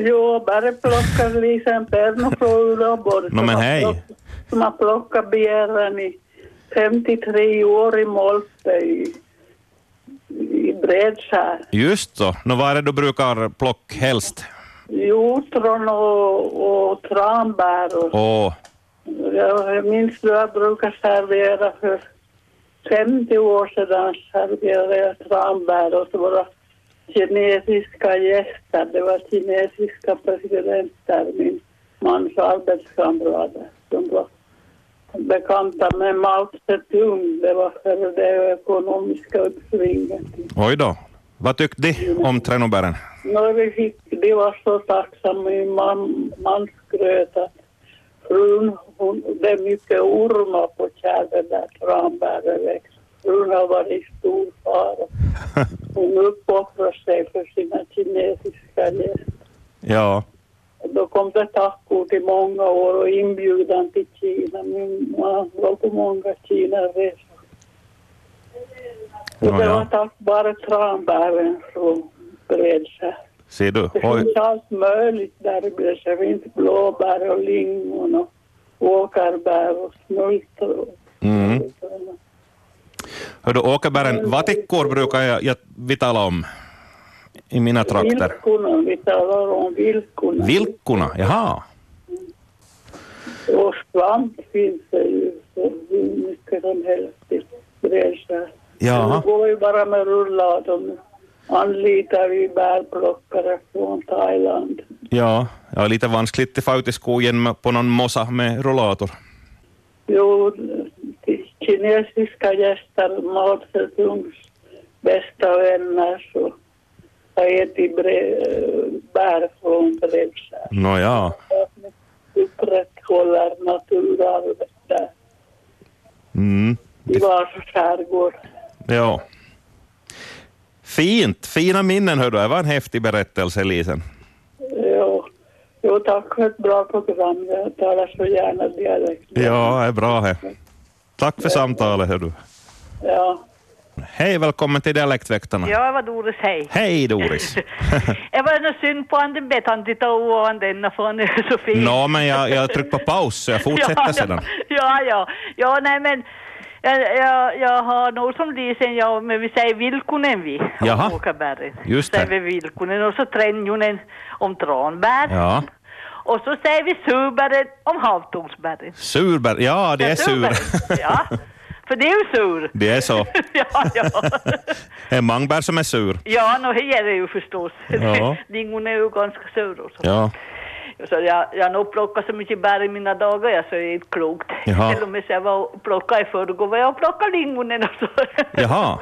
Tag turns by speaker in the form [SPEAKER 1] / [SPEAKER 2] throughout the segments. [SPEAKER 1] jobbare plockar Lisen Perno från Uleåborg.
[SPEAKER 2] Nå, No, men
[SPEAKER 1] som har
[SPEAKER 2] hej.
[SPEAKER 1] plock- Som har plockat begäran i 53 år i Molpe i, i Bredskär.
[SPEAKER 2] Just så. Nå, vad är det du brukar plocka helst?
[SPEAKER 1] Jotron och, och tranbär. Och,
[SPEAKER 2] Åh,
[SPEAKER 1] Jag minns då jag brukade servera för 50 år sedan serverade jag tranbär åt våra kinesiska gäster. Det var kinesiska presidenter, min mans arbetskamrater. De var bekanta med Mao Zedong. Det var före det ekonomiska uppsvinget.
[SPEAKER 2] oj då. Vad tyckte de om Trenobären?
[SPEAKER 1] När vi fick, de var så tacksamma i man, mansgröt att frun, hon, det är mycket ormar på kärren där tranbären växer. Frun har varit i stor fara. Hon uppoffrar sig för sina kinesiska gäster.
[SPEAKER 2] Ja.
[SPEAKER 1] Och Då kom det tackord i många år och inbjudan till Kina. Min man var på många Kinaresor. Och
[SPEAKER 2] Nå,
[SPEAKER 1] det
[SPEAKER 2] ja.
[SPEAKER 1] var tack vare tranbären som bredde sig.
[SPEAKER 2] Ser du?
[SPEAKER 1] Det
[SPEAKER 2] Oj.
[SPEAKER 1] finns allt möjligt där det blir. Det finns blåbär och lingon och åkerbär och smultron.
[SPEAKER 2] Mm. Hördu, åkerbären, vatikkor brukar jag, jag, vi tala om i mina trakter.
[SPEAKER 1] Vilkorna, vi talar om vilkorna.
[SPEAKER 2] Vilkorna, jaha.
[SPEAKER 1] och svamp finns det ju så hur mycket som helst i Bredskär.
[SPEAKER 2] Jaha.
[SPEAKER 1] Men Det går ju bara med rullar. De anlitar ju bärplockare från Thailand.
[SPEAKER 2] Ja, ja lite vanskligt att få ut i skogen med- på någon mossa med rullator.
[SPEAKER 1] Jo, till kinesiska gäster, Mao Zedongs bästa vänner, så har ätit bre- eh, bär från Bredskär.
[SPEAKER 2] Nå ja.
[SPEAKER 1] Upprätthåller naturarvet där
[SPEAKER 2] Mm.
[SPEAKER 1] i Vasa skärgård.
[SPEAKER 2] Ja. Fint, fina minnen hördu. Det var en häftig berättelse, Lisen.
[SPEAKER 1] Jo. jo, tack för ett bra program. Jag talar så gärna dialekt.
[SPEAKER 2] Ja, det är bra här. Tack för samtalet, hördu.
[SPEAKER 1] Ja.
[SPEAKER 2] Hej, välkommen till Dialektväktarna.
[SPEAKER 3] Ja, vad Doris, hej.
[SPEAKER 2] Hej, Doris.
[SPEAKER 3] Jag var nog synd på anden bet han titta ovan denna från Sofie.
[SPEAKER 2] Nå, men jag, jag tryckte på paus, så jag fortsätter
[SPEAKER 3] ja,
[SPEAKER 2] sedan.
[SPEAKER 3] Ja, ja, ja, nej men jag, jag, jag har nog som lisen, jag, men vi säger vilkonen vi. om
[SPEAKER 2] Jaha.
[SPEAKER 3] Åkerbären.
[SPEAKER 2] Just det.
[SPEAKER 3] Säger vi vilkonen och så tränjonen om tranbär.
[SPEAKER 2] Ja.
[SPEAKER 3] Och så säger vi surbären om havtornsbären.
[SPEAKER 2] Surbär, ja, det är sur.
[SPEAKER 3] surbären, Ja, för det är ju sur.
[SPEAKER 2] Det är så.
[SPEAKER 3] ja, ja.
[SPEAKER 2] En mangbär som är sur.
[SPEAKER 3] Ja, nå, det är det ju förstås.
[SPEAKER 2] Ja.
[SPEAKER 3] Lingon är ju ganska sur och så.
[SPEAKER 2] Ja.
[SPEAKER 3] Så jag, jag har nog plockat så mycket bär i mina dagar, jag så det är inte klokt.
[SPEAKER 2] Jaha.
[SPEAKER 3] Till och med så jag var och plockade i förrgår, var jag och plockade lingonen och så.
[SPEAKER 2] Jaha.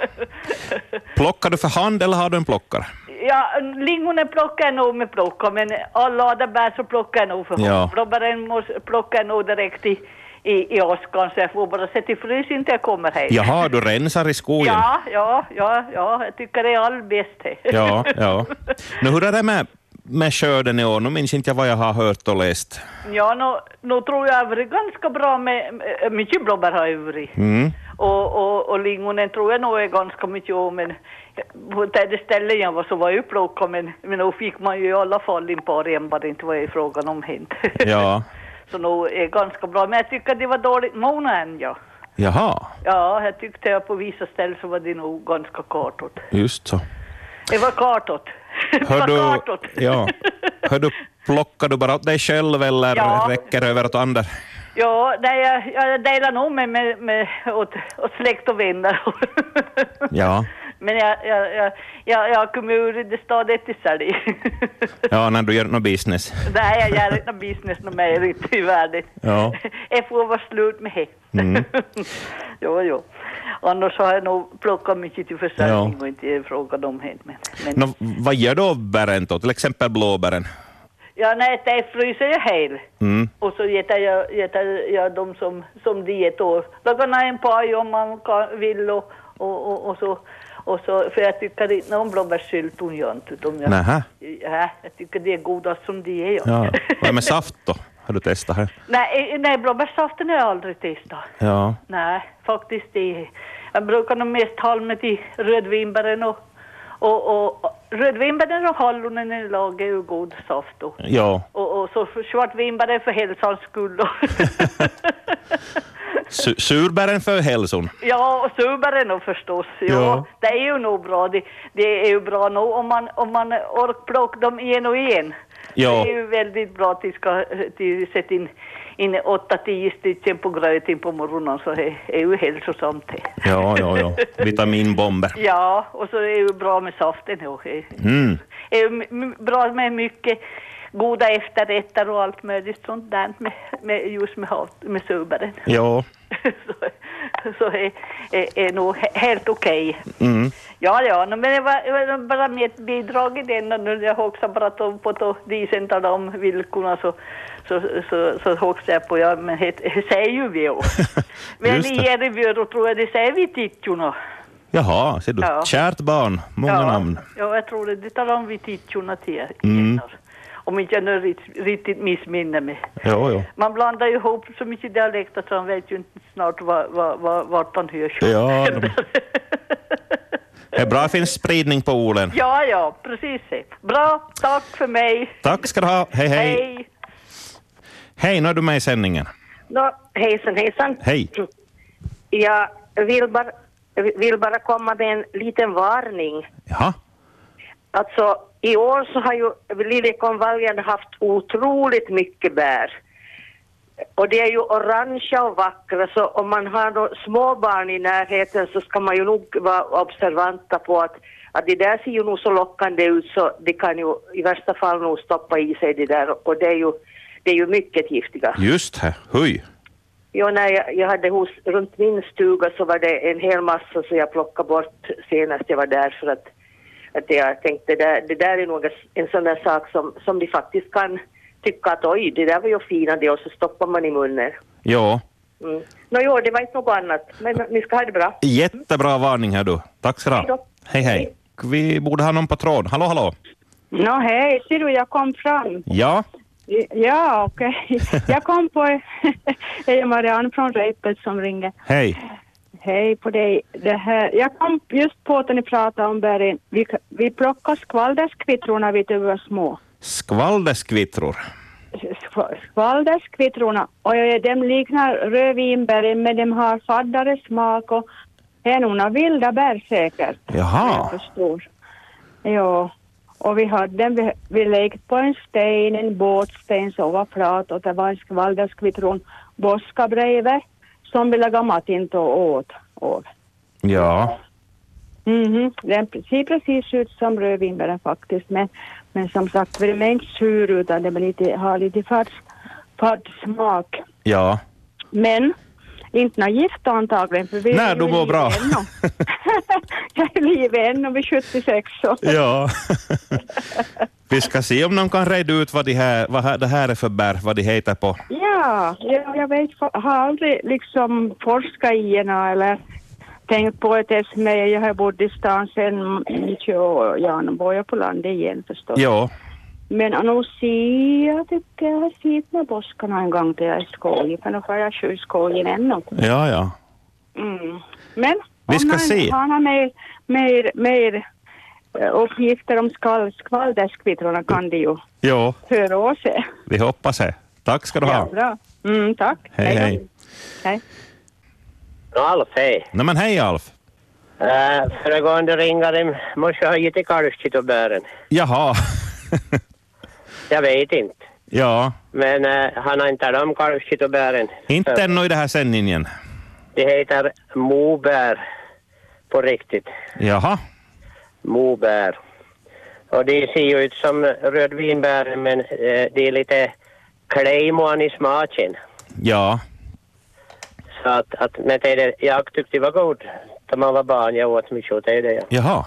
[SPEAKER 2] Plockar du för hand eller har du en plockare?
[SPEAKER 3] Ja, lingonen plockar jag nog med plocka, men alla andra bär så plockar jag nog för hand.
[SPEAKER 2] Ja.
[SPEAKER 3] Blåbären måste- plockar jag nog direkt i, i, i askan, så jag får bara sätta i frysen till jag kommer hem.
[SPEAKER 2] Jaha, du rensar i skogen?
[SPEAKER 3] Ja, ja, ja, ja, jag tycker det är all bäst. det.
[SPEAKER 2] Ja, ja. Nu, hur är det med, med skörden i år? Nu minns inte jag vad jag har hört och läst.
[SPEAKER 3] Ja, nu, nu tror jag det är ganska bra med, med- mycket blåbär har jag varit.
[SPEAKER 2] Mm.
[SPEAKER 3] Och, och, och lingonen tror jag nog är ganska mycket om, men på det stället jag var så var jag ju plockad, men, men då fick man ju i alla fall in par en bara det inte var frågan om hänt.
[SPEAKER 2] Ja.
[SPEAKER 3] så nog är ganska bra, men jag tycker det var dåligt månaden, ja.
[SPEAKER 2] Jaha,
[SPEAKER 3] Ja, jag tyckte jag på vissa ställen så var det nog ganska kartåt.
[SPEAKER 2] just så.
[SPEAKER 3] Det var kartåt. det var kartåt.
[SPEAKER 2] ja, hör du, plockar du bara åt dig själv eller
[SPEAKER 3] Ja.
[SPEAKER 2] räcker det över åt andra?
[SPEAKER 3] Ja, nej, jag, jag delar nog med, med, med åt, åt släkt och vänner.
[SPEAKER 2] Ja.
[SPEAKER 3] Men jag, jag, jag, jag, jag kommer ur det stadiet i sälj.
[SPEAKER 2] Ja, när du gör någon business.
[SPEAKER 3] nej, jag gör inte någon business något mer ute i världen.
[SPEAKER 2] Ja.
[SPEAKER 3] Jag får vara slut med det.
[SPEAKER 2] Mm.
[SPEAKER 3] jo, jo. Annars har jag nog plockat mycket till försörjning
[SPEAKER 2] Ja.
[SPEAKER 3] och inte frågat om det. Men, men,
[SPEAKER 2] Nå, vad gör du av bären då, till exempel blåbären?
[SPEAKER 3] Ja, nej, det fryser jag hel.
[SPEAKER 2] Mm.
[SPEAKER 3] Och så äter jag, äter jag dem som, som diet och lagar man en paj om man kan, vill och, och, och, och, så, och så. För jag tycker inte om blåbärssylt, hon gör inte utom jag,
[SPEAKER 2] Nähä.
[SPEAKER 3] Ja, jag tycker det är godast som det är. Ja.
[SPEAKER 2] Ja. Vad är med saft då? Har du testat här?
[SPEAKER 3] nej, eh, nej, blåbärssaften har jag aldrig testat.
[SPEAKER 2] Ja.
[SPEAKER 3] Nej, faktiskt det. Jag brukar nog mest ha med i rödvinbären och, och, och, och rödvinbären och hallonen i lag är ju god saft och,
[SPEAKER 2] Ja,
[SPEAKER 3] och, och så svartvinbären för hälsans skull. Och
[SPEAKER 2] su- surbären för hälsan.
[SPEAKER 3] ja, och surbären då förstås. Ja,
[SPEAKER 2] Ja.
[SPEAKER 3] det är ju nog bra. Det, det är ju bra nog om man, om man orkar plocka dem en och en.
[SPEAKER 2] Ja.
[SPEAKER 3] Det är ju väldigt bra att de ska de sätta in, in 8-10 stycken på gröten på morgonen så det är ju hälsosamt det.
[SPEAKER 2] Ja, ja, ja. Vitaminbomber.
[SPEAKER 3] Ja, och så är det ju bra med saften också.
[SPEAKER 2] Mm.
[SPEAKER 3] är ju m- m- bra med mycket goda efterrätter och allt möjligt sånt där med, med just med, hav, med surbären.
[SPEAKER 2] Ja.
[SPEAKER 3] så så är, är, är nog he- helt okej.
[SPEAKER 2] Mm.
[SPEAKER 3] Ja, ja, no, men det var, det var bara mitt bidrag i den och nu när jag också pratade om på då disen talade om villkorna så så, så, så, så också jag på, ja men det det säger ju vi också. Men
[SPEAKER 2] Just det.
[SPEAKER 3] i Järvöro tror jag det säger vi tittjorna.
[SPEAKER 2] Jaha, ser du.
[SPEAKER 3] Ja.
[SPEAKER 2] Kärt barn, många
[SPEAKER 3] ja,
[SPEAKER 2] namn.
[SPEAKER 3] Ja, jag tror det. Det talar om vid tittjorna till
[SPEAKER 2] Mm.
[SPEAKER 3] Om inte jag nu rit- riktigt missminner mig.
[SPEAKER 2] Ja, ja.
[SPEAKER 3] Man blandar ju ihop så mycket dialekter så man vet ju inte snart var, var, var, vart man hörs.
[SPEAKER 2] Ja, de- Det är bra att det finns spridning på orden.
[SPEAKER 3] ja, ja, precis. det. Bra, tack för mig.
[SPEAKER 2] Tack ska du ha. Hej, hej.
[SPEAKER 3] Hej.
[SPEAKER 2] Hej, nu är du med i sändningen.
[SPEAKER 4] Nå, hejsan, hejsan.
[SPEAKER 2] Hej.
[SPEAKER 4] Jag vill bara, vill bara komma med en liten varning.
[SPEAKER 2] Jaha.
[SPEAKER 4] Alltså, i år så har ju liljekonvaljen haft otroligt mycket bär. Och det är ju orangea och vackra, så om man har några småbarn i närheten så ska man ju nog vara observanta på att, att det där ser ju nog så lockande ut så det kan ju i värsta fall nog stoppa i sig det där och det är ju, det är ju mycket giftiga.
[SPEAKER 2] Just det. Hui.
[SPEAKER 4] Ja, när jag, jag hade hos, runt min stuga så var det en hel massa så jag plockade bort senast jag var där för att, att jag tänkte det där, det där är nog en sån där sak som, som de faktiskt kan tycka att oj, det där var ju fina det och så stoppar man i munnen.
[SPEAKER 2] Ja.
[SPEAKER 4] Mm. Nå, jo, det var inte något annat, men ni ska ha det bra.
[SPEAKER 2] Jättebra varning här du. Tack ska du
[SPEAKER 4] Hej
[SPEAKER 2] ha.
[SPEAKER 4] då.
[SPEAKER 2] Hej, hej. Vi borde ha någon på tråd. Hallå, hallå.
[SPEAKER 5] Nå hej, ser du jag kom fram.
[SPEAKER 2] Ja.
[SPEAKER 5] Ja, okej. Jag kom på... Hej, Marianne från Reipel som ringer.
[SPEAKER 2] Hej.
[SPEAKER 5] Hej på dig. Det här, jag kom just på att ni pratade om bären. Vi, vi plockade skvalderskvittrorna vid vi var små.
[SPEAKER 2] Skvalderskvittror.
[SPEAKER 5] Skva- Skvalderskvittrorna. Och eh, de liknar rödvinbären men de har faddare smak och är nog några vilda bär säkert.
[SPEAKER 2] Jaha.
[SPEAKER 5] Jag förstår. Ja. Och vi hade den, vi, vi lekte på en sten, en båtsten som var flat och det var en skvalderskvitron boska bredvid som vi lagade mat inte och åt. åt.
[SPEAKER 2] Ja.
[SPEAKER 5] Mhm. Den ser precis ut som rödvinbären faktiskt men, men som sagt den är inte sur utan den är lite, har lite fadd, fadd smak.
[SPEAKER 2] Ja.
[SPEAKER 5] Men inte något gift antagligen för vi är
[SPEAKER 2] Nej,
[SPEAKER 5] ju
[SPEAKER 2] du
[SPEAKER 5] i
[SPEAKER 2] mår
[SPEAKER 5] livet
[SPEAKER 2] bra.
[SPEAKER 5] ännu. Jag är i livet ännu, vid 76 år.
[SPEAKER 2] Ja. Vi ska se om någon kan reda ut vad, de här, vad här- det här är för bär, vad de heter på.
[SPEAKER 5] Ja, jag, jag vet, fa- har aldrig liksom forskat i henne eller tänkt på det ens med. E. Jag har bott i stan sedan 20 år. Ja, nu bor jag på landet igen förstås.
[SPEAKER 2] Ja.
[SPEAKER 5] Men nog ser jag tycker jag har sett med boskarna en gång till jag är i skogen. För nu får jag tjurskogen ännu.
[SPEAKER 2] Ja, ja.
[SPEAKER 5] Mm. Men
[SPEAKER 2] Vi ska
[SPEAKER 5] om någon
[SPEAKER 2] se.
[SPEAKER 5] har några mer, mer, mer eh, uppgifter om skall- skvalderskvittrorna kan de ju
[SPEAKER 2] Ja.
[SPEAKER 5] höra av sig.
[SPEAKER 2] Vi hoppas det. Tack ska du ha.
[SPEAKER 5] Ja, bra. Mm, tack.
[SPEAKER 2] Hej,
[SPEAKER 5] då.
[SPEAKER 2] hej.
[SPEAKER 5] hej.
[SPEAKER 6] Alf, hej.
[SPEAKER 2] Nej, men hej Alf.
[SPEAKER 6] Äh, föregående ringare måste ha gett i kalvskit och bären.
[SPEAKER 2] Jaha.
[SPEAKER 6] Jag vet inte.
[SPEAKER 2] Ja.
[SPEAKER 6] Men äh, han har inte talat om kalvskit och bären.
[SPEAKER 2] Inte
[SPEAKER 6] För
[SPEAKER 2] ännu i den här sändningen.
[SPEAKER 6] Det heter mobär på riktigt.
[SPEAKER 2] Jaha.
[SPEAKER 6] Mobär. Och det ser ju ut som rödvinbär men eh, det är lite klejmån i smaken.
[SPEAKER 2] Ja.
[SPEAKER 6] Så att, att men det är det, jag tyckte det var god. När man var barn jag åt mycket åt det. det.
[SPEAKER 2] Jaha.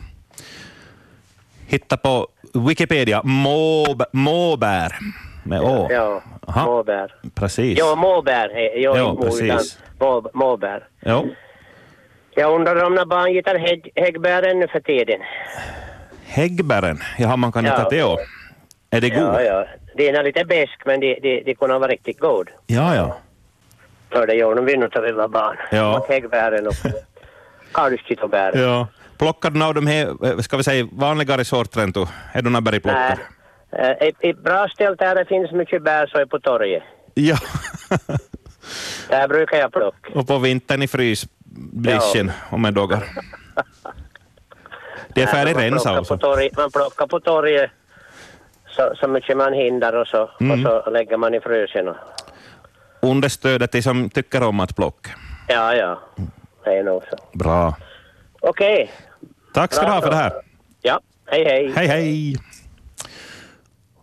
[SPEAKER 2] Hitta på Wikipedia. Måb- Måbär. Med Å.
[SPEAKER 6] Ja,
[SPEAKER 2] Aha.
[SPEAKER 6] måbär.
[SPEAKER 2] Precis.
[SPEAKER 6] Ja, måbär. är- Ja,
[SPEAKER 2] Ja,
[SPEAKER 6] inte mo, utan
[SPEAKER 2] precis.
[SPEAKER 6] må- måbär.
[SPEAKER 2] Jo.
[SPEAKER 6] Jag undrar om när barn gittar hägg, häggbären nu för tiden.
[SPEAKER 2] Häggbären. Jaha, man kan
[SPEAKER 6] Ja.
[SPEAKER 2] hitta det å. Är det god?
[SPEAKER 6] Ja, ja. Den är lite besk men det de, de kunde vara riktigt god.
[SPEAKER 2] ja. ja.
[SPEAKER 6] För det gjorde vi nog när vi var barn.
[SPEAKER 2] Ja.
[SPEAKER 6] Och häggbären och kalvskittobären.
[SPEAKER 2] Ja. Plockade du av de här, eh, ska vi säga, vanligare sortren? tu? Är du någon
[SPEAKER 6] Nej.
[SPEAKER 2] bergplockare?
[SPEAKER 6] Eh, I, I bra ställ där det finns mycket bär så är på torget.
[SPEAKER 2] Ja,
[SPEAKER 6] Där brukar jag plocka.
[SPEAKER 2] och på vintern i frysdischen om en dagar. Det är
[SPEAKER 6] Nej,
[SPEAKER 2] färdig
[SPEAKER 6] man
[SPEAKER 2] rensa
[SPEAKER 6] plockar
[SPEAKER 2] alltså.
[SPEAKER 6] På torget, man plockar på torget så, så mycket man hinner och så,
[SPEAKER 2] Mm.
[SPEAKER 6] och så lägger man i frysen. och-
[SPEAKER 2] Understödet till som tycker om att plocka.
[SPEAKER 6] Ja, ja. Det är nog så.
[SPEAKER 2] Bra.
[SPEAKER 6] Okej.
[SPEAKER 2] Tack ska du
[SPEAKER 6] Bra,
[SPEAKER 2] ha för det
[SPEAKER 6] bra.
[SPEAKER 2] här.
[SPEAKER 6] Ja, hej hej.
[SPEAKER 2] Hej, hej.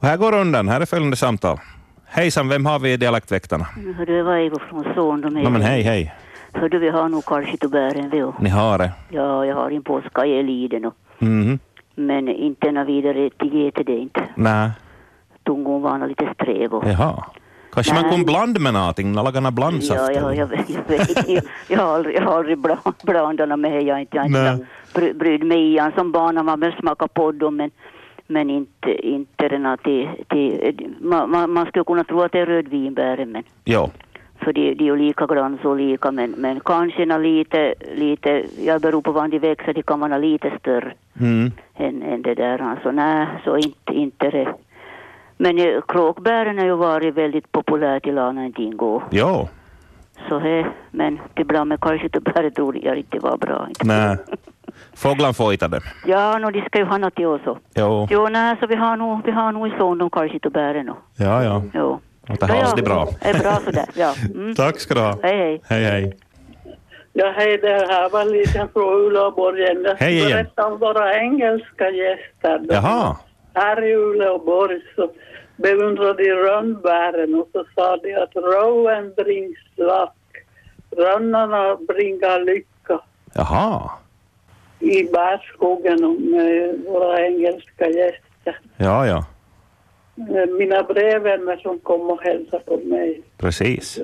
[SPEAKER 2] Och här går rundan. Här är följande samtal. Hejsan, vem har vi i Dialektväktarna?
[SPEAKER 7] Hör du, vad är det från son de är?
[SPEAKER 2] Nej, men hej, hej.
[SPEAKER 7] Hör du, vi har nog kanske till bären vi och-
[SPEAKER 2] Ni har det.
[SPEAKER 7] Ja, jag har en påska i Eliden och,
[SPEAKER 2] Mhm.
[SPEAKER 7] men inte något vidare till ge till det inte.
[SPEAKER 2] Nej,
[SPEAKER 7] Tungon var nog lite sträv och...
[SPEAKER 2] jaha. Kanske man
[SPEAKER 7] Nej.
[SPEAKER 2] kan blanda med någonting, lagana
[SPEAKER 7] Ja,
[SPEAKER 2] blandsaft?
[SPEAKER 7] ja, jag, vet- jag, vet. jag, jag har aldrig, jag har aldrig bla- blandat något med det. Jag har inte, jag har
[SPEAKER 2] Nej.
[SPEAKER 7] inte bry- brydde mig i han som barn. Han var väl smaka på dem, men, men inte, inte den här till, till, man, man, man skulle kunna tro att det är rödvinbären, men
[SPEAKER 2] Ja.
[SPEAKER 7] För de, de är ju lika glans och lika, men, men kanske nå lite, lite, jag beror på var de växer, de kan vara lite större
[SPEAKER 2] Mm.
[SPEAKER 7] än, än det där. Alltså nej, så inte, inte det. Men eh, kråkbären har ju varit väldigt populärt i Lana en tid går.
[SPEAKER 2] Jo.
[SPEAKER 7] Så he, men det bra med kanske inte bären tror jag inte var bra. Inte.
[SPEAKER 2] Nej. Fåglarna fojtade.
[SPEAKER 7] Ja, nå de ska ju ha något till också.
[SPEAKER 2] Jo.
[SPEAKER 7] Jo, nej, så vi har nog, vi har nog i son de kanske inte bären. och-
[SPEAKER 2] Ja, ja.
[SPEAKER 7] Jo.
[SPEAKER 2] Och det har
[SPEAKER 7] Ja,
[SPEAKER 2] det bra.
[SPEAKER 7] Det är bra sådär, ja. Mm.
[SPEAKER 2] Tack ska du ha.
[SPEAKER 7] Hej, hej.
[SPEAKER 2] Hej, hej.
[SPEAKER 1] Ja, hej, det här var en liten från Uleåborg igen. Jag ska
[SPEAKER 2] Hej igen.
[SPEAKER 1] berätta om våra engelska gäster. De
[SPEAKER 2] Jaha.
[SPEAKER 1] Här i Uleåborg så beundrade de rönnbären och så sa de att rowan brings luck. Rönnarna bringar lycka
[SPEAKER 2] Jaha.
[SPEAKER 1] i bärskogen och med våra engelska gäster.
[SPEAKER 2] Ja, ja.
[SPEAKER 1] Mina brevvänner som kom och hälsade på mig
[SPEAKER 2] Precis.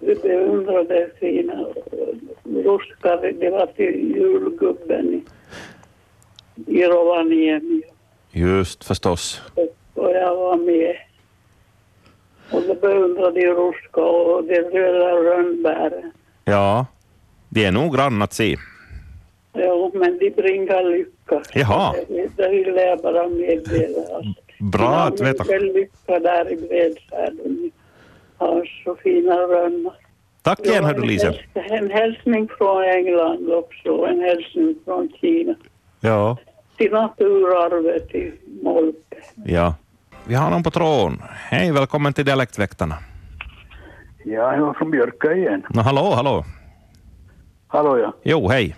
[SPEAKER 1] de beundrade sina ruskar. Det var till julgubben i, i Rovaniemi.
[SPEAKER 2] Just förstås.
[SPEAKER 1] och jag var med. Och då beundrade jag Ruska och det röda rönnbären.
[SPEAKER 2] Ja. Det är nog grann att se.
[SPEAKER 1] Jo, men de bringar lycka.
[SPEAKER 2] Jaha.
[SPEAKER 1] Det, det ville jag bara meddela.
[SPEAKER 2] Bra att veta.
[SPEAKER 1] Jag lycka där i Bredsvärden. Har så fina rönnar.
[SPEAKER 2] Tack igen, hör du
[SPEAKER 1] en
[SPEAKER 2] Lise.
[SPEAKER 1] häls- En hälsning från England också och en hälsning från Kina.
[SPEAKER 2] Ja.
[SPEAKER 1] Till naturarvet i Molpe.
[SPEAKER 2] Ja. Vi har någon på tråden. Hej, välkommen till Dialektväktarna.
[SPEAKER 8] Ja, jag var från Björka igen.
[SPEAKER 2] Nå, hallå, hallå.
[SPEAKER 8] Hallå ja.
[SPEAKER 2] Jo, hej.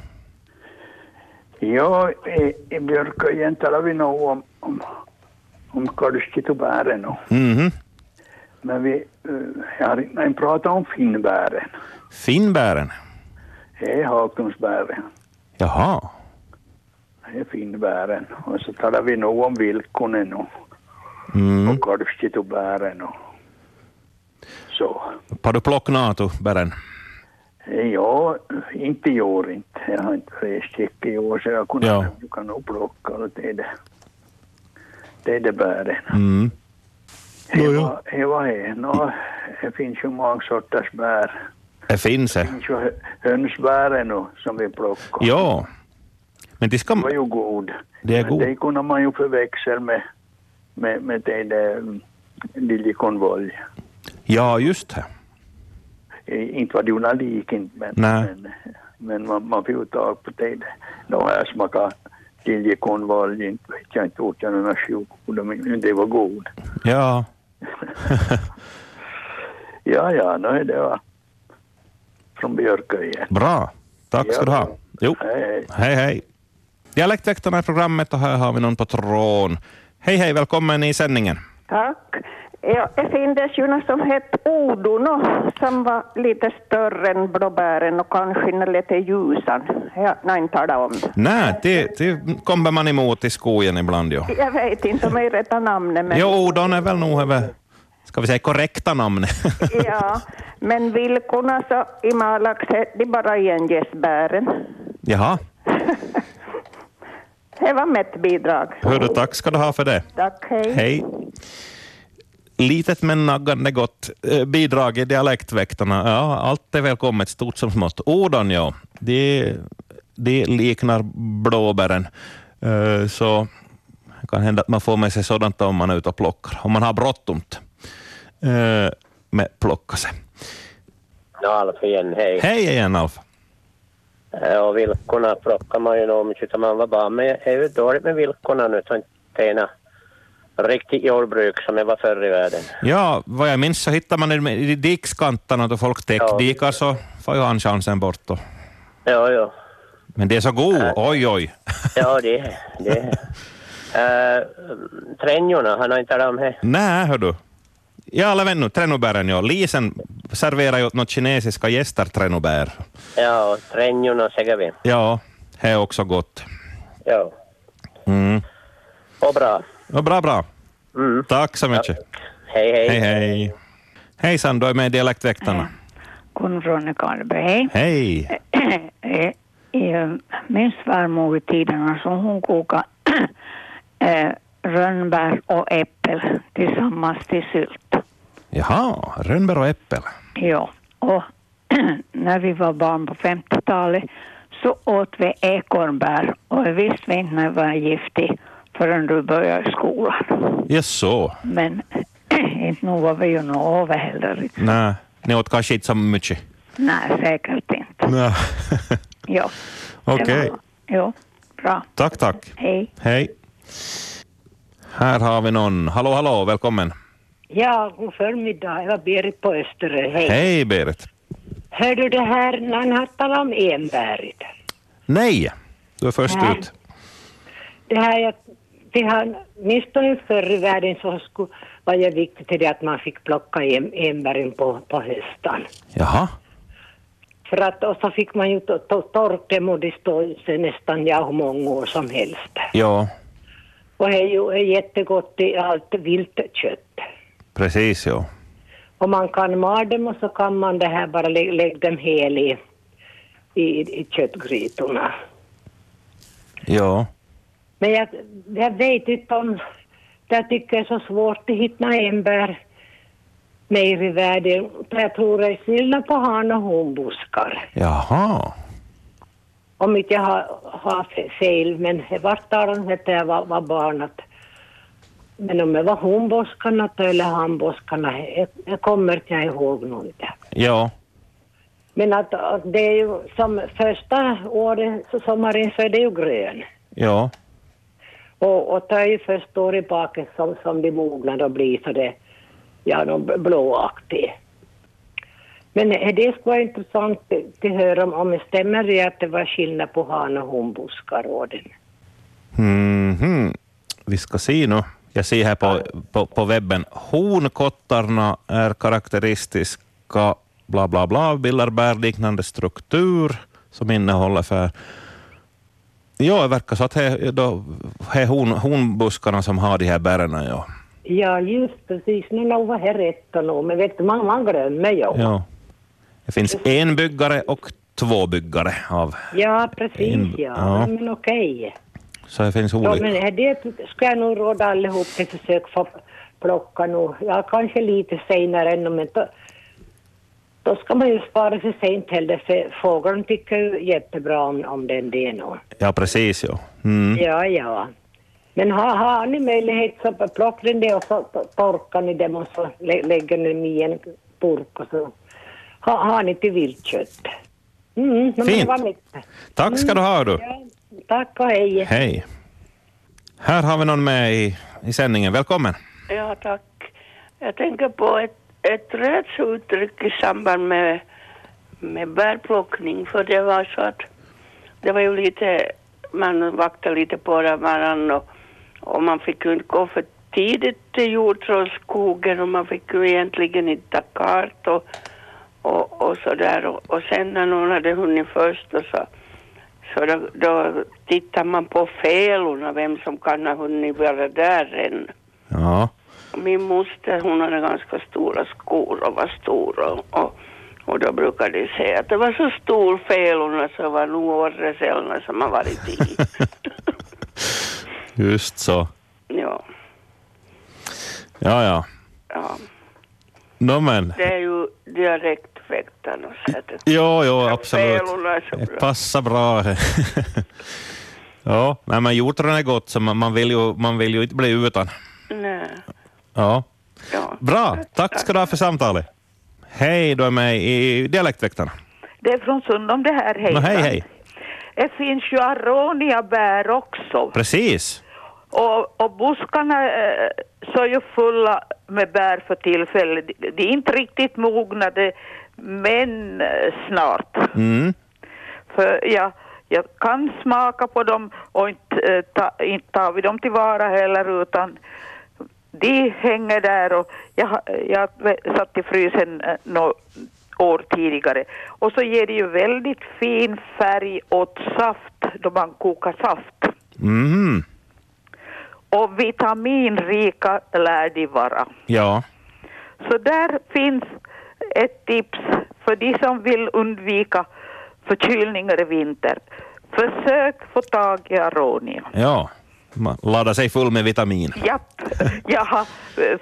[SPEAKER 8] Ja, i, i Björka igen talar vi nog om, om, om kalvskitobären. och-
[SPEAKER 2] Mhm.
[SPEAKER 8] Men vi, eh, jag har inte inte pratat om finnbären.
[SPEAKER 2] Finnbären.
[SPEAKER 8] Det är haklundsbären.
[SPEAKER 2] Jaha.
[SPEAKER 8] Det är finnbären. Och så talar vi nog om vilkonen och,
[SPEAKER 2] Mm.
[SPEAKER 8] och kalvskitobären och så.
[SPEAKER 2] Har du plocknat du, bären?
[SPEAKER 8] Ja, inte i år inte. Jag har inte rest mycket i år så jag kunde,
[SPEAKER 2] Ja.
[SPEAKER 8] jag kan nog plocka och det är det. Det är det bären.
[SPEAKER 2] Mm.
[SPEAKER 8] Det var- det var det. Nå, det finns ju många sorters bär.
[SPEAKER 2] Det finns det.
[SPEAKER 8] Det finns ju hö- hönsbären och, som vi plockar.
[SPEAKER 2] Ja. Men de ska...
[SPEAKER 8] Det var ju god.
[SPEAKER 2] Det är
[SPEAKER 8] Men
[SPEAKER 2] god.
[SPEAKER 8] Det kunde man ju förväxla med, med, med det där mm, liljekonvolj.
[SPEAKER 2] Ja, just det.
[SPEAKER 8] Eh, Inte var det ju någon lik inte, men,
[SPEAKER 2] Nej.
[SPEAKER 8] men, men man, man får ju tag på det. där. Nå har jag smakat liljekonvolj, inte vet jag inte, åt jag några sjuka, men det var god.
[SPEAKER 2] Ja.
[SPEAKER 8] Ja, ja, nå är det var från Björkö igen.
[SPEAKER 2] Bra. Tack ska du ha. Jo.
[SPEAKER 8] Hej, hej.
[SPEAKER 2] Hej, hej. Dialektväktarna är programmet och här har vi någon på tråden. Hej, hej. Välkommen i sändningen.
[SPEAKER 9] Tack. Ja, det finns ju något som hette odono som var lite större än blåbären och kanske lite ljusan. Jag har inte talat om det.
[SPEAKER 2] Nej, det, det kommer man emot i skogen ibland ju.
[SPEAKER 9] Jag vet inte om jag rätta namnet men,
[SPEAKER 2] Jo, de är väl nog över, ska vi säga korrekta namn.
[SPEAKER 9] ja, men vilkorna så i Malax hette de bara gengästbären.
[SPEAKER 2] Jaha,
[SPEAKER 9] Det var mitt bidrag.
[SPEAKER 2] hördu, tack ska du ha för det.
[SPEAKER 9] Tack,
[SPEAKER 2] Hej. Litet men naggande gott eh, bidrag i dialektväktarna. Ja, allt är välkommet, stort som smått. Ordan, ja. Det de liknar blåbären. Eh, Så det kan hända att man får med sig sådant om man är ute och plockar, om man har bråttomt eh, med plocka sig.
[SPEAKER 6] No, Alf igen, hej.
[SPEAKER 2] Hej igen Alf!
[SPEAKER 6] Eh, Och vilkorna plockar man ju om utan man var barn. Men det är ju dåligt med vilkorna nu. så Det är ena riktigt jordbruk som det var förr i världen.
[SPEAKER 2] Ja, vad jag minns så hittar man dem i dikskanterna då folk täckdikar så får ju han chansen bort. då.
[SPEAKER 6] Ja, ja.
[SPEAKER 2] Men det är så god, oj oj!
[SPEAKER 6] Ja, det det. Uh, tränjorna, han har inte talat om det.
[SPEAKER 2] Nej, hör du. Ja, alla vänner, tränobären ja. Lisen serverar ju åt något kinesiska gäster tränobär.
[SPEAKER 6] Ja, och tränjorna säger vi.
[SPEAKER 2] Ja, det är också gott.
[SPEAKER 6] Ja,
[SPEAKER 2] Mm.
[SPEAKER 6] och bra. Mm.
[SPEAKER 2] Ja, bra, bra. Tack så mycket.
[SPEAKER 6] Hej, hej.
[SPEAKER 2] Hej, hej. Hejsan, du är med i Dialektväktarna.
[SPEAKER 10] Gun från Karlberg.
[SPEAKER 2] Hej.
[SPEAKER 10] Eh, eh, Min svärmor i tiderna så hon kokade eh, rönnbär och äppel tillsammans till sylt.
[SPEAKER 2] Jaha, rönnbär och äppel.
[SPEAKER 10] Ja, och när vi var barn på 50-talet så åt vi ekornbär och det visste vi inte när vi var giftig förrän du började skolan.
[SPEAKER 2] Jaså?
[SPEAKER 10] Men inte nog var vi ju nog över heller.
[SPEAKER 2] Nej, ni åt kanske inte så mycket.
[SPEAKER 10] Nej, säkert inte.
[SPEAKER 2] Nej.
[SPEAKER 10] Ja,
[SPEAKER 2] Okej.
[SPEAKER 10] jo, bra.
[SPEAKER 2] Tack, tack.
[SPEAKER 10] Hej.
[SPEAKER 2] Hej. Här har vi någon. Hallå, hallå, välkommen.
[SPEAKER 11] Ja, god förmiddag. Jag var Berit på Österö. Hej.
[SPEAKER 2] Hej, Berit.
[SPEAKER 11] Hör du det här när han har talat om enbäret?
[SPEAKER 2] Nej, du är först
[SPEAKER 11] Nej.
[SPEAKER 2] ut.
[SPEAKER 11] Det här jag, vi har, åtminstone förr i världen så skulle, var det viktigt till det att man fick plocka en, enbären på, på hösten.
[SPEAKER 2] Jaha.
[SPEAKER 11] För att, och så fick man ju to- to- torka dem och det stod sig nästan ja hur många år som helst.
[SPEAKER 2] Ja,
[SPEAKER 11] Och det är ju är jättegott i allt viltkött.
[SPEAKER 2] precis ja.
[SPEAKER 11] Och man kan mala dem och så kan man det här bara lä- lägga dem hel i, i, i köttgrytorna.
[SPEAKER 2] Ja.
[SPEAKER 11] Men jag, jag vet inte om... Jag tycker det är så svårt att hitta enbär mer i världen. Jag tror det är skillnad på han och honbuskar.
[SPEAKER 2] Jaha.
[SPEAKER 11] Om inte jag har, har fe- fel, men i vart talan hette jag var, var barn att men om det var honboskarna eller hanboskarna, jag, jag kommer inte ihåg nog inte.
[SPEAKER 2] Ja.
[SPEAKER 11] Men att, att det är ju som första året, så sommaren, så är det ju grön.
[SPEAKER 2] Ja.
[SPEAKER 11] Och, och det är ju först år i baken som, som de mognar och blir så det, ja, de bl- blåaktiga. Men eh, det skulle vara intressant att- att höra om, om det stämmer det att det var skillnad på han och honbuskarorden.
[SPEAKER 2] Mhm. Vi ska se nu. Jag ser här på, på, på webben. Honkottarna är karaktäristiska bla bla bla, bildar bärliknande struktur som innehåller för... Ja, det verkar så att det är då- det är hon, honbuskarna som har de här bären. Ja.
[SPEAKER 11] Ja, just precis. Nu nog var det rätt och nog, men vet du, man, man glömmer ju. Ja,
[SPEAKER 2] Ja. Det finns en byggare och två byggare av...
[SPEAKER 11] precis
[SPEAKER 2] In-
[SPEAKER 11] ja.
[SPEAKER 2] ja.
[SPEAKER 11] Men okej.
[SPEAKER 2] Så det finns
[SPEAKER 11] Ja,
[SPEAKER 2] olika.
[SPEAKER 11] men eh, det ska jag nog råda allihop till försök få plocka nog. Ja, kanske lite senare ännu, men då, då ska man ju spara sig sent heller, för fågeln tycker ju jättebra om, om den det nog.
[SPEAKER 2] Ja, precis. Ja. Mm.
[SPEAKER 11] Ja, ja. Men har, har ni möjlighet så plockar ni det och så to- torkar ni dem och så lä, lägger ni dem i en burk och så har, har ni till viltkött. Mm, men det
[SPEAKER 2] Fint.
[SPEAKER 11] var mitt.
[SPEAKER 2] Tack ska du ha. Du.
[SPEAKER 11] Tack och hej.
[SPEAKER 2] Hej. Här har vi någon med i, i sändningen. Välkommen.
[SPEAKER 12] Ja, tack. Jag tänker på ett, ett rättsuttryck i samband med, med bärplockning, för det var så att det var ju lite, man vaktade lite på varandra och, och man fick ju inte gå för tidigt till jordtrollskogen och man fick ju egentligen inte ta kart och, och, och så där. Och, och sen när någon hade hunnit först och så, så då, då tittar man på fälorna, vem som kan ha hunnit vara där än.
[SPEAKER 2] Ja.
[SPEAKER 12] Min moster hon hade ganska stora skor och var stor och, och, och då brukade de säga att det var så stor felorna så var nog orreselna som har varit i.
[SPEAKER 2] Just så.
[SPEAKER 12] ja,
[SPEAKER 2] Ja, ja.
[SPEAKER 12] ja.
[SPEAKER 2] No, men.
[SPEAKER 12] Det är ju dialekt perfekta något sättet.
[SPEAKER 2] Jo, jo, absolut.
[SPEAKER 12] Pelorna är så
[SPEAKER 2] Det
[SPEAKER 12] bra.
[SPEAKER 2] passar bra. ja, nej, men hjortron är gott, så man, man, vill ju, man vill ju inte bli utan.
[SPEAKER 12] Nej.
[SPEAKER 2] Ja. Bra, tack ska du ha för samtalet. Hej, du är med i Dialektväktarna.
[SPEAKER 13] Det är från Sundom det här, hej.
[SPEAKER 2] Nå, hej, hej.
[SPEAKER 13] Det finns ju aroniabär också.
[SPEAKER 2] Precis.
[SPEAKER 13] Och, och buskarna eh, så är ju fulla med bär för tillfället. De- De är inte riktigt mognade, men eh, snart.
[SPEAKER 2] Mm.
[SPEAKER 13] För jag, jag kan smaka på dem och inte, eh, ta, inte tar vi dem tillvara heller utan de hänger där och jag, ha- jag satt i frysen eh, några år tidigare. Och så ger det ju väldigt fin färg åt saft då man kokar saft.
[SPEAKER 2] Mhm.
[SPEAKER 13] Och vitaminrika lär de vara.
[SPEAKER 2] Ja.
[SPEAKER 13] Så där finns ett tips för de som vill undvika förkylningar i vinter. Försök få tag i aronia.
[SPEAKER 2] ja. Man laddar sig full med vitamin.
[SPEAKER 13] Japp, jag har,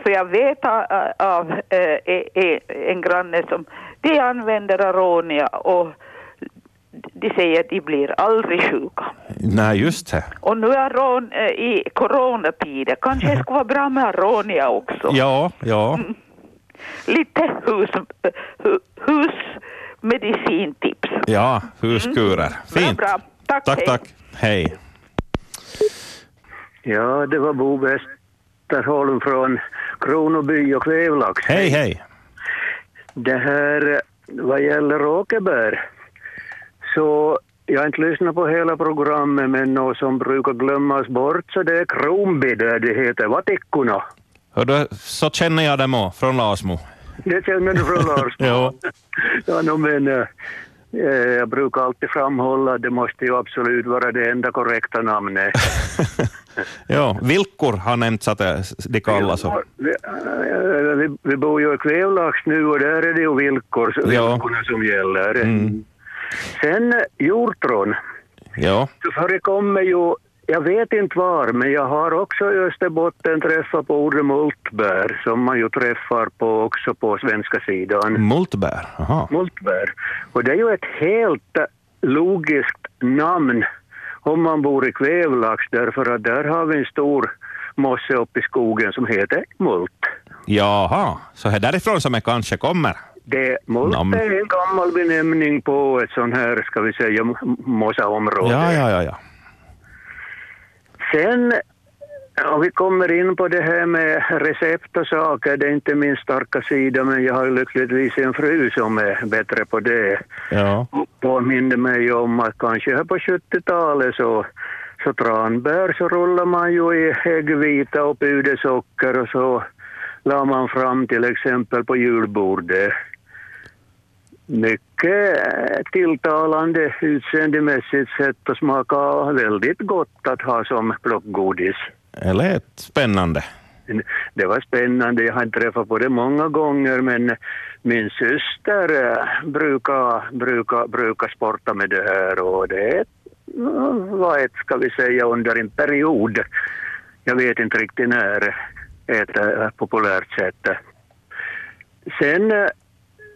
[SPEAKER 13] för jag vet a- av eh, e- e- en granne som de använder aronia och de säger att de blir aldrig sjuka.
[SPEAKER 2] Nej, just det.
[SPEAKER 13] Och nu är aron eh, i coronatider, kanske det skulle vara bra med aronia också.
[SPEAKER 2] Ja, ja.
[SPEAKER 13] lite hus, eh, hu- husmedicintips.
[SPEAKER 2] Ja, huskurer. Fint.
[SPEAKER 13] Bra, bra. Tack,
[SPEAKER 2] tack,
[SPEAKER 13] hej.
[SPEAKER 2] tack. Hej.
[SPEAKER 14] Ja, det var Bo Westerholm från Kronoby och Kvävlax.
[SPEAKER 2] Hej, hej.
[SPEAKER 14] Det här eh, vad gäller åkerbär så jag har inte lyssnat på hela programmet men något som brukar glömmas bort så det är Kronby där det heter Vatikkuna.
[SPEAKER 2] Och då, så känner jag dem också, från Lasmo.
[SPEAKER 14] Det känner du från Lars?
[SPEAKER 2] ja.
[SPEAKER 14] ja no, men, eh, eh, jag brukar alltid framhålla att det måste ju absolut vara det enda korrekta namnet.
[SPEAKER 2] Ja, vilkor har nämnts att det- de kallas. så.
[SPEAKER 14] Vi, eh, vi, vi bor ju i Kvävlax nu och där är det ju villkor, villkorna som gäller. Sen eh, hjortron.
[SPEAKER 2] Ja.
[SPEAKER 14] Det förekommer ju, jag vet inte var, men jag har också i Österbotten träffat på ordet multbär som man ju träffar på också på svenska sidan.
[SPEAKER 2] Mm. Multbär, aha.
[SPEAKER 14] Multbär. Och det är ju ett helt eh, logiskt namn om man bor i Kvävlax därför att där har vi en stor mosse uppe i skogen som heter mult.
[SPEAKER 2] Jaha, så här därifrån som jag kanske kommer.
[SPEAKER 14] Det, mult
[SPEAKER 2] Namn.
[SPEAKER 14] är en gammal benämning på ett sånt här, ska vi säga, m- mossaområde.
[SPEAKER 2] Ja, ja, ja, ja.
[SPEAKER 14] Sen om vi kommer in på det här med recept och saker, det är inte min starka sida men jag har ju lyckligtvis en fru som är bättre på det.
[SPEAKER 2] Ja.
[SPEAKER 14] påminner mig om att kanske här på 70-talet så, så tranbär så rullar man ju i äggvita och pudersocker och så la man fram till exempel på julbordet. Mycket eh, tilltalande utseendemässigt sett och smaka väldigt gott att ha som plockgodis.
[SPEAKER 2] Det lät spännande.
[SPEAKER 14] Det var spännande. Jag har träffat på det många gånger men eh, min syster eh, brukar, brukar, brukar sporta med det här och det mm, var ett, ska vi säga, under en period. Jag vet inte riktigt när ett eh, populärt sätt. Sen eh,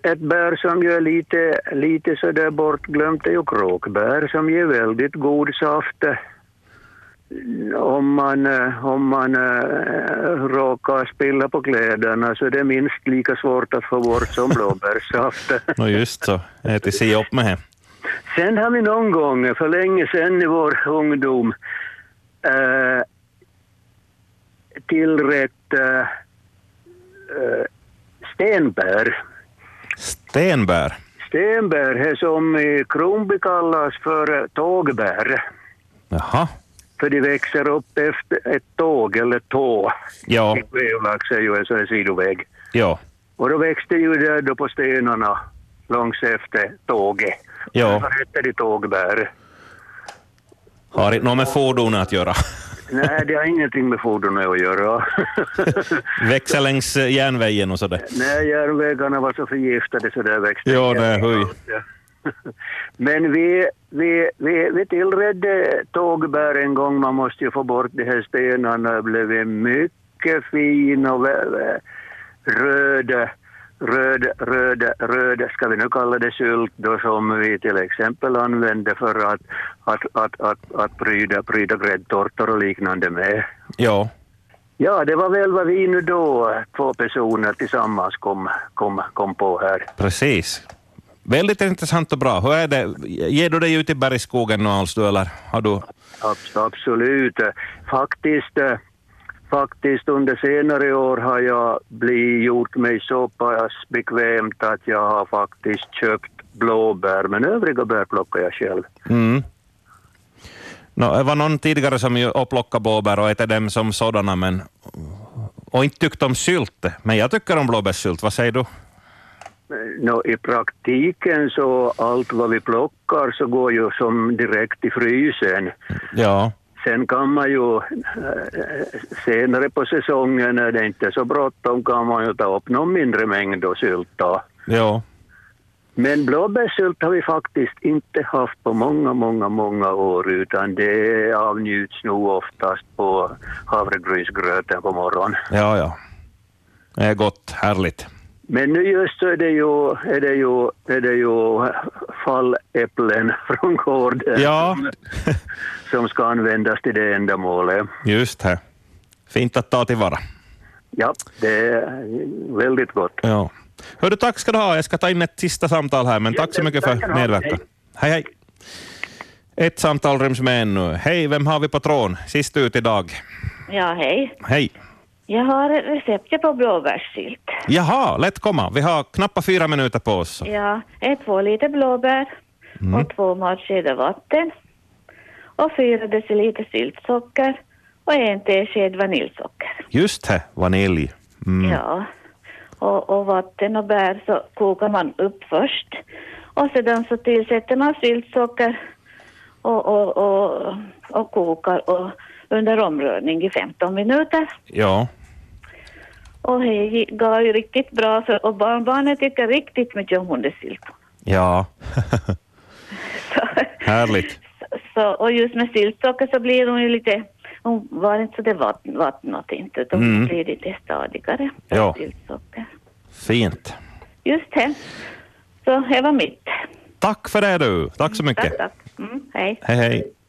[SPEAKER 14] ett bär som ju är lite, lite sådär bortglömt är ju kråkbär som ger väldigt god saft. eh, om man, eh, om man eh, råkar spilla på kläderna så det är minst lika svårt att få bort som blåbärssaft.
[SPEAKER 2] Nå just så, jag heter se upp med hem.
[SPEAKER 14] Sen har vi någon gång, för länge sedan i vår ungdom, eh, tillrätt eh, eh, stenbär.
[SPEAKER 2] Stenbär.
[SPEAKER 14] Stenbär är som i Kronby kallas för eh, tågbär,
[SPEAKER 2] Jaha.
[SPEAKER 14] för de växer upp efter ett tåg eller tå.
[SPEAKER 2] Ja,
[SPEAKER 14] Vevlax är ju en sån här sidoväg.
[SPEAKER 2] ja,
[SPEAKER 14] Och då växte ju där då på stenarna långs efter tåget.
[SPEAKER 2] ja.
[SPEAKER 14] Vad hette det tågbär?
[SPEAKER 2] Har inte något med fordonet att göra.
[SPEAKER 14] Nej, det har ingenting med fordonet att göra.
[SPEAKER 2] Växa längs eh, järnvägen och sådär.
[SPEAKER 14] Nej, järnvägarna var så förgiftade så där växte
[SPEAKER 2] Ja,
[SPEAKER 14] det.
[SPEAKER 2] nej, höj.
[SPEAKER 14] Men vi, vi, vi, vi tillredde tågbär en gång. Man måste ju få bort de här stenarna. Det blev en mycket fin och vä- vä- röd röd, röd, röd, ska vi nu kalla det sylt då som vi till exempel använder för att, att, att, att, att pryda, pryda gräddtårtor och liknande med.
[SPEAKER 2] Ja.
[SPEAKER 14] Ja, det var väl vad vi nu då, två personer tillsammans kom, kom, kom på här.
[SPEAKER 2] Precis. Väldigt intressant och bra. Hur är det? Ger du dig ut i bergsskogen nu alls du, eller har du?
[SPEAKER 14] Abs- Absolut. Faktiskt, eh, faktiskt under senare år har jag blivit, gjort mig så pass bekvämt att jag har faktiskt köpt blåbär, men övriga bär plockar jag själv.
[SPEAKER 2] Mm. Nå, det var någon tidigare som ju och plockade blåbär och äter dem som sådana, men, och inte tyckte om sylt. Men jag tycker om blåbärssylt. Vad säger du?
[SPEAKER 14] Nå, I praktiken så allt vad vi plockar så går ju som direkt i frysen.
[SPEAKER 2] Ja.
[SPEAKER 14] Sen kan man ju eh, senare på säsongen när det inte är så bråttom kan man ju ta upp någon mindre mängd och sylta.
[SPEAKER 2] Ja.
[SPEAKER 14] Men blåbärssylt har vi faktiskt inte haft på många, många, många år utan det avnjuts nog oftast på havregrynsgröten på morgonen.
[SPEAKER 2] Ja, ja. Det är gott, härligt.
[SPEAKER 14] Men nu just så är det ju, är det ju, är det ju falläpplen från gården
[SPEAKER 2] Ja.
[SPEAKER 14] som, som ska användas till det ändamålet.
[SPEAKER 2] Just det. Fint att ta tillvara.
[SPEAKER 14] Ja, det är väldigt gott.
[SPEAKER 2] Ja. Hördu, tack ska du ha. Jag ska ta in ett sista samtal här, men tack så mycket för medverkan. Hej, hej. Ett samtal ryms med ännu. Hej, vem har vi på tråden? Sist ut idag.
[SPEAKER 15] Ja, hej.
[SPEAKER 2] Hej.
[SPEAKER 15] Jag har receptet på blåbärssylt.
[SPEAKER 2] Jaha, lätt komma. Vi har knappt fyra minuter på oss.
[SPEAKER 15] Ja, det är två liter blåbär
[SPEAKER 2] Mm.
[SPEAKER 15] och två matskedar vatten och fyra deciliter syltsocker och en tesked vaniljsocker.
[SPEAKER 2] Just det, vanilj. Mm.
[SPEAKER 15] Ja. Och, och vatten och bär så kokar man upp först och sedan så tillsätter man syltsocker och, och, och, och kokar och under omrörning i 15 minuter.
[SPEAKER 2] Ja.
[SPEAKER 15] Och det gav ju riktigt bra för, och barnbarnen tycker riktigt mycket om hundesylt.
[SPEAKER 2] Ja. Härligt.
[SPEAKER 15] Så, och just med syltsocker så blir hon ju lite, hon var inte så det vatten, vattnat inte, utan hon
[SPEAKER 2] Mm.
[SPEAKER 15] blir lite stadigare.
[SPEAKER 2] Ja.
[SPEAKER 15] Syltsocker.
[SPEAKER 2] Fint.
[SPEAKER 15] Just det. Så det var mitt.
[SPEAKER 2] Tack för det du. Tack så mycket.
[SPEAKER 15] Tack, tack. Mm, hej.
[SPEAKER 2] Hej, hej.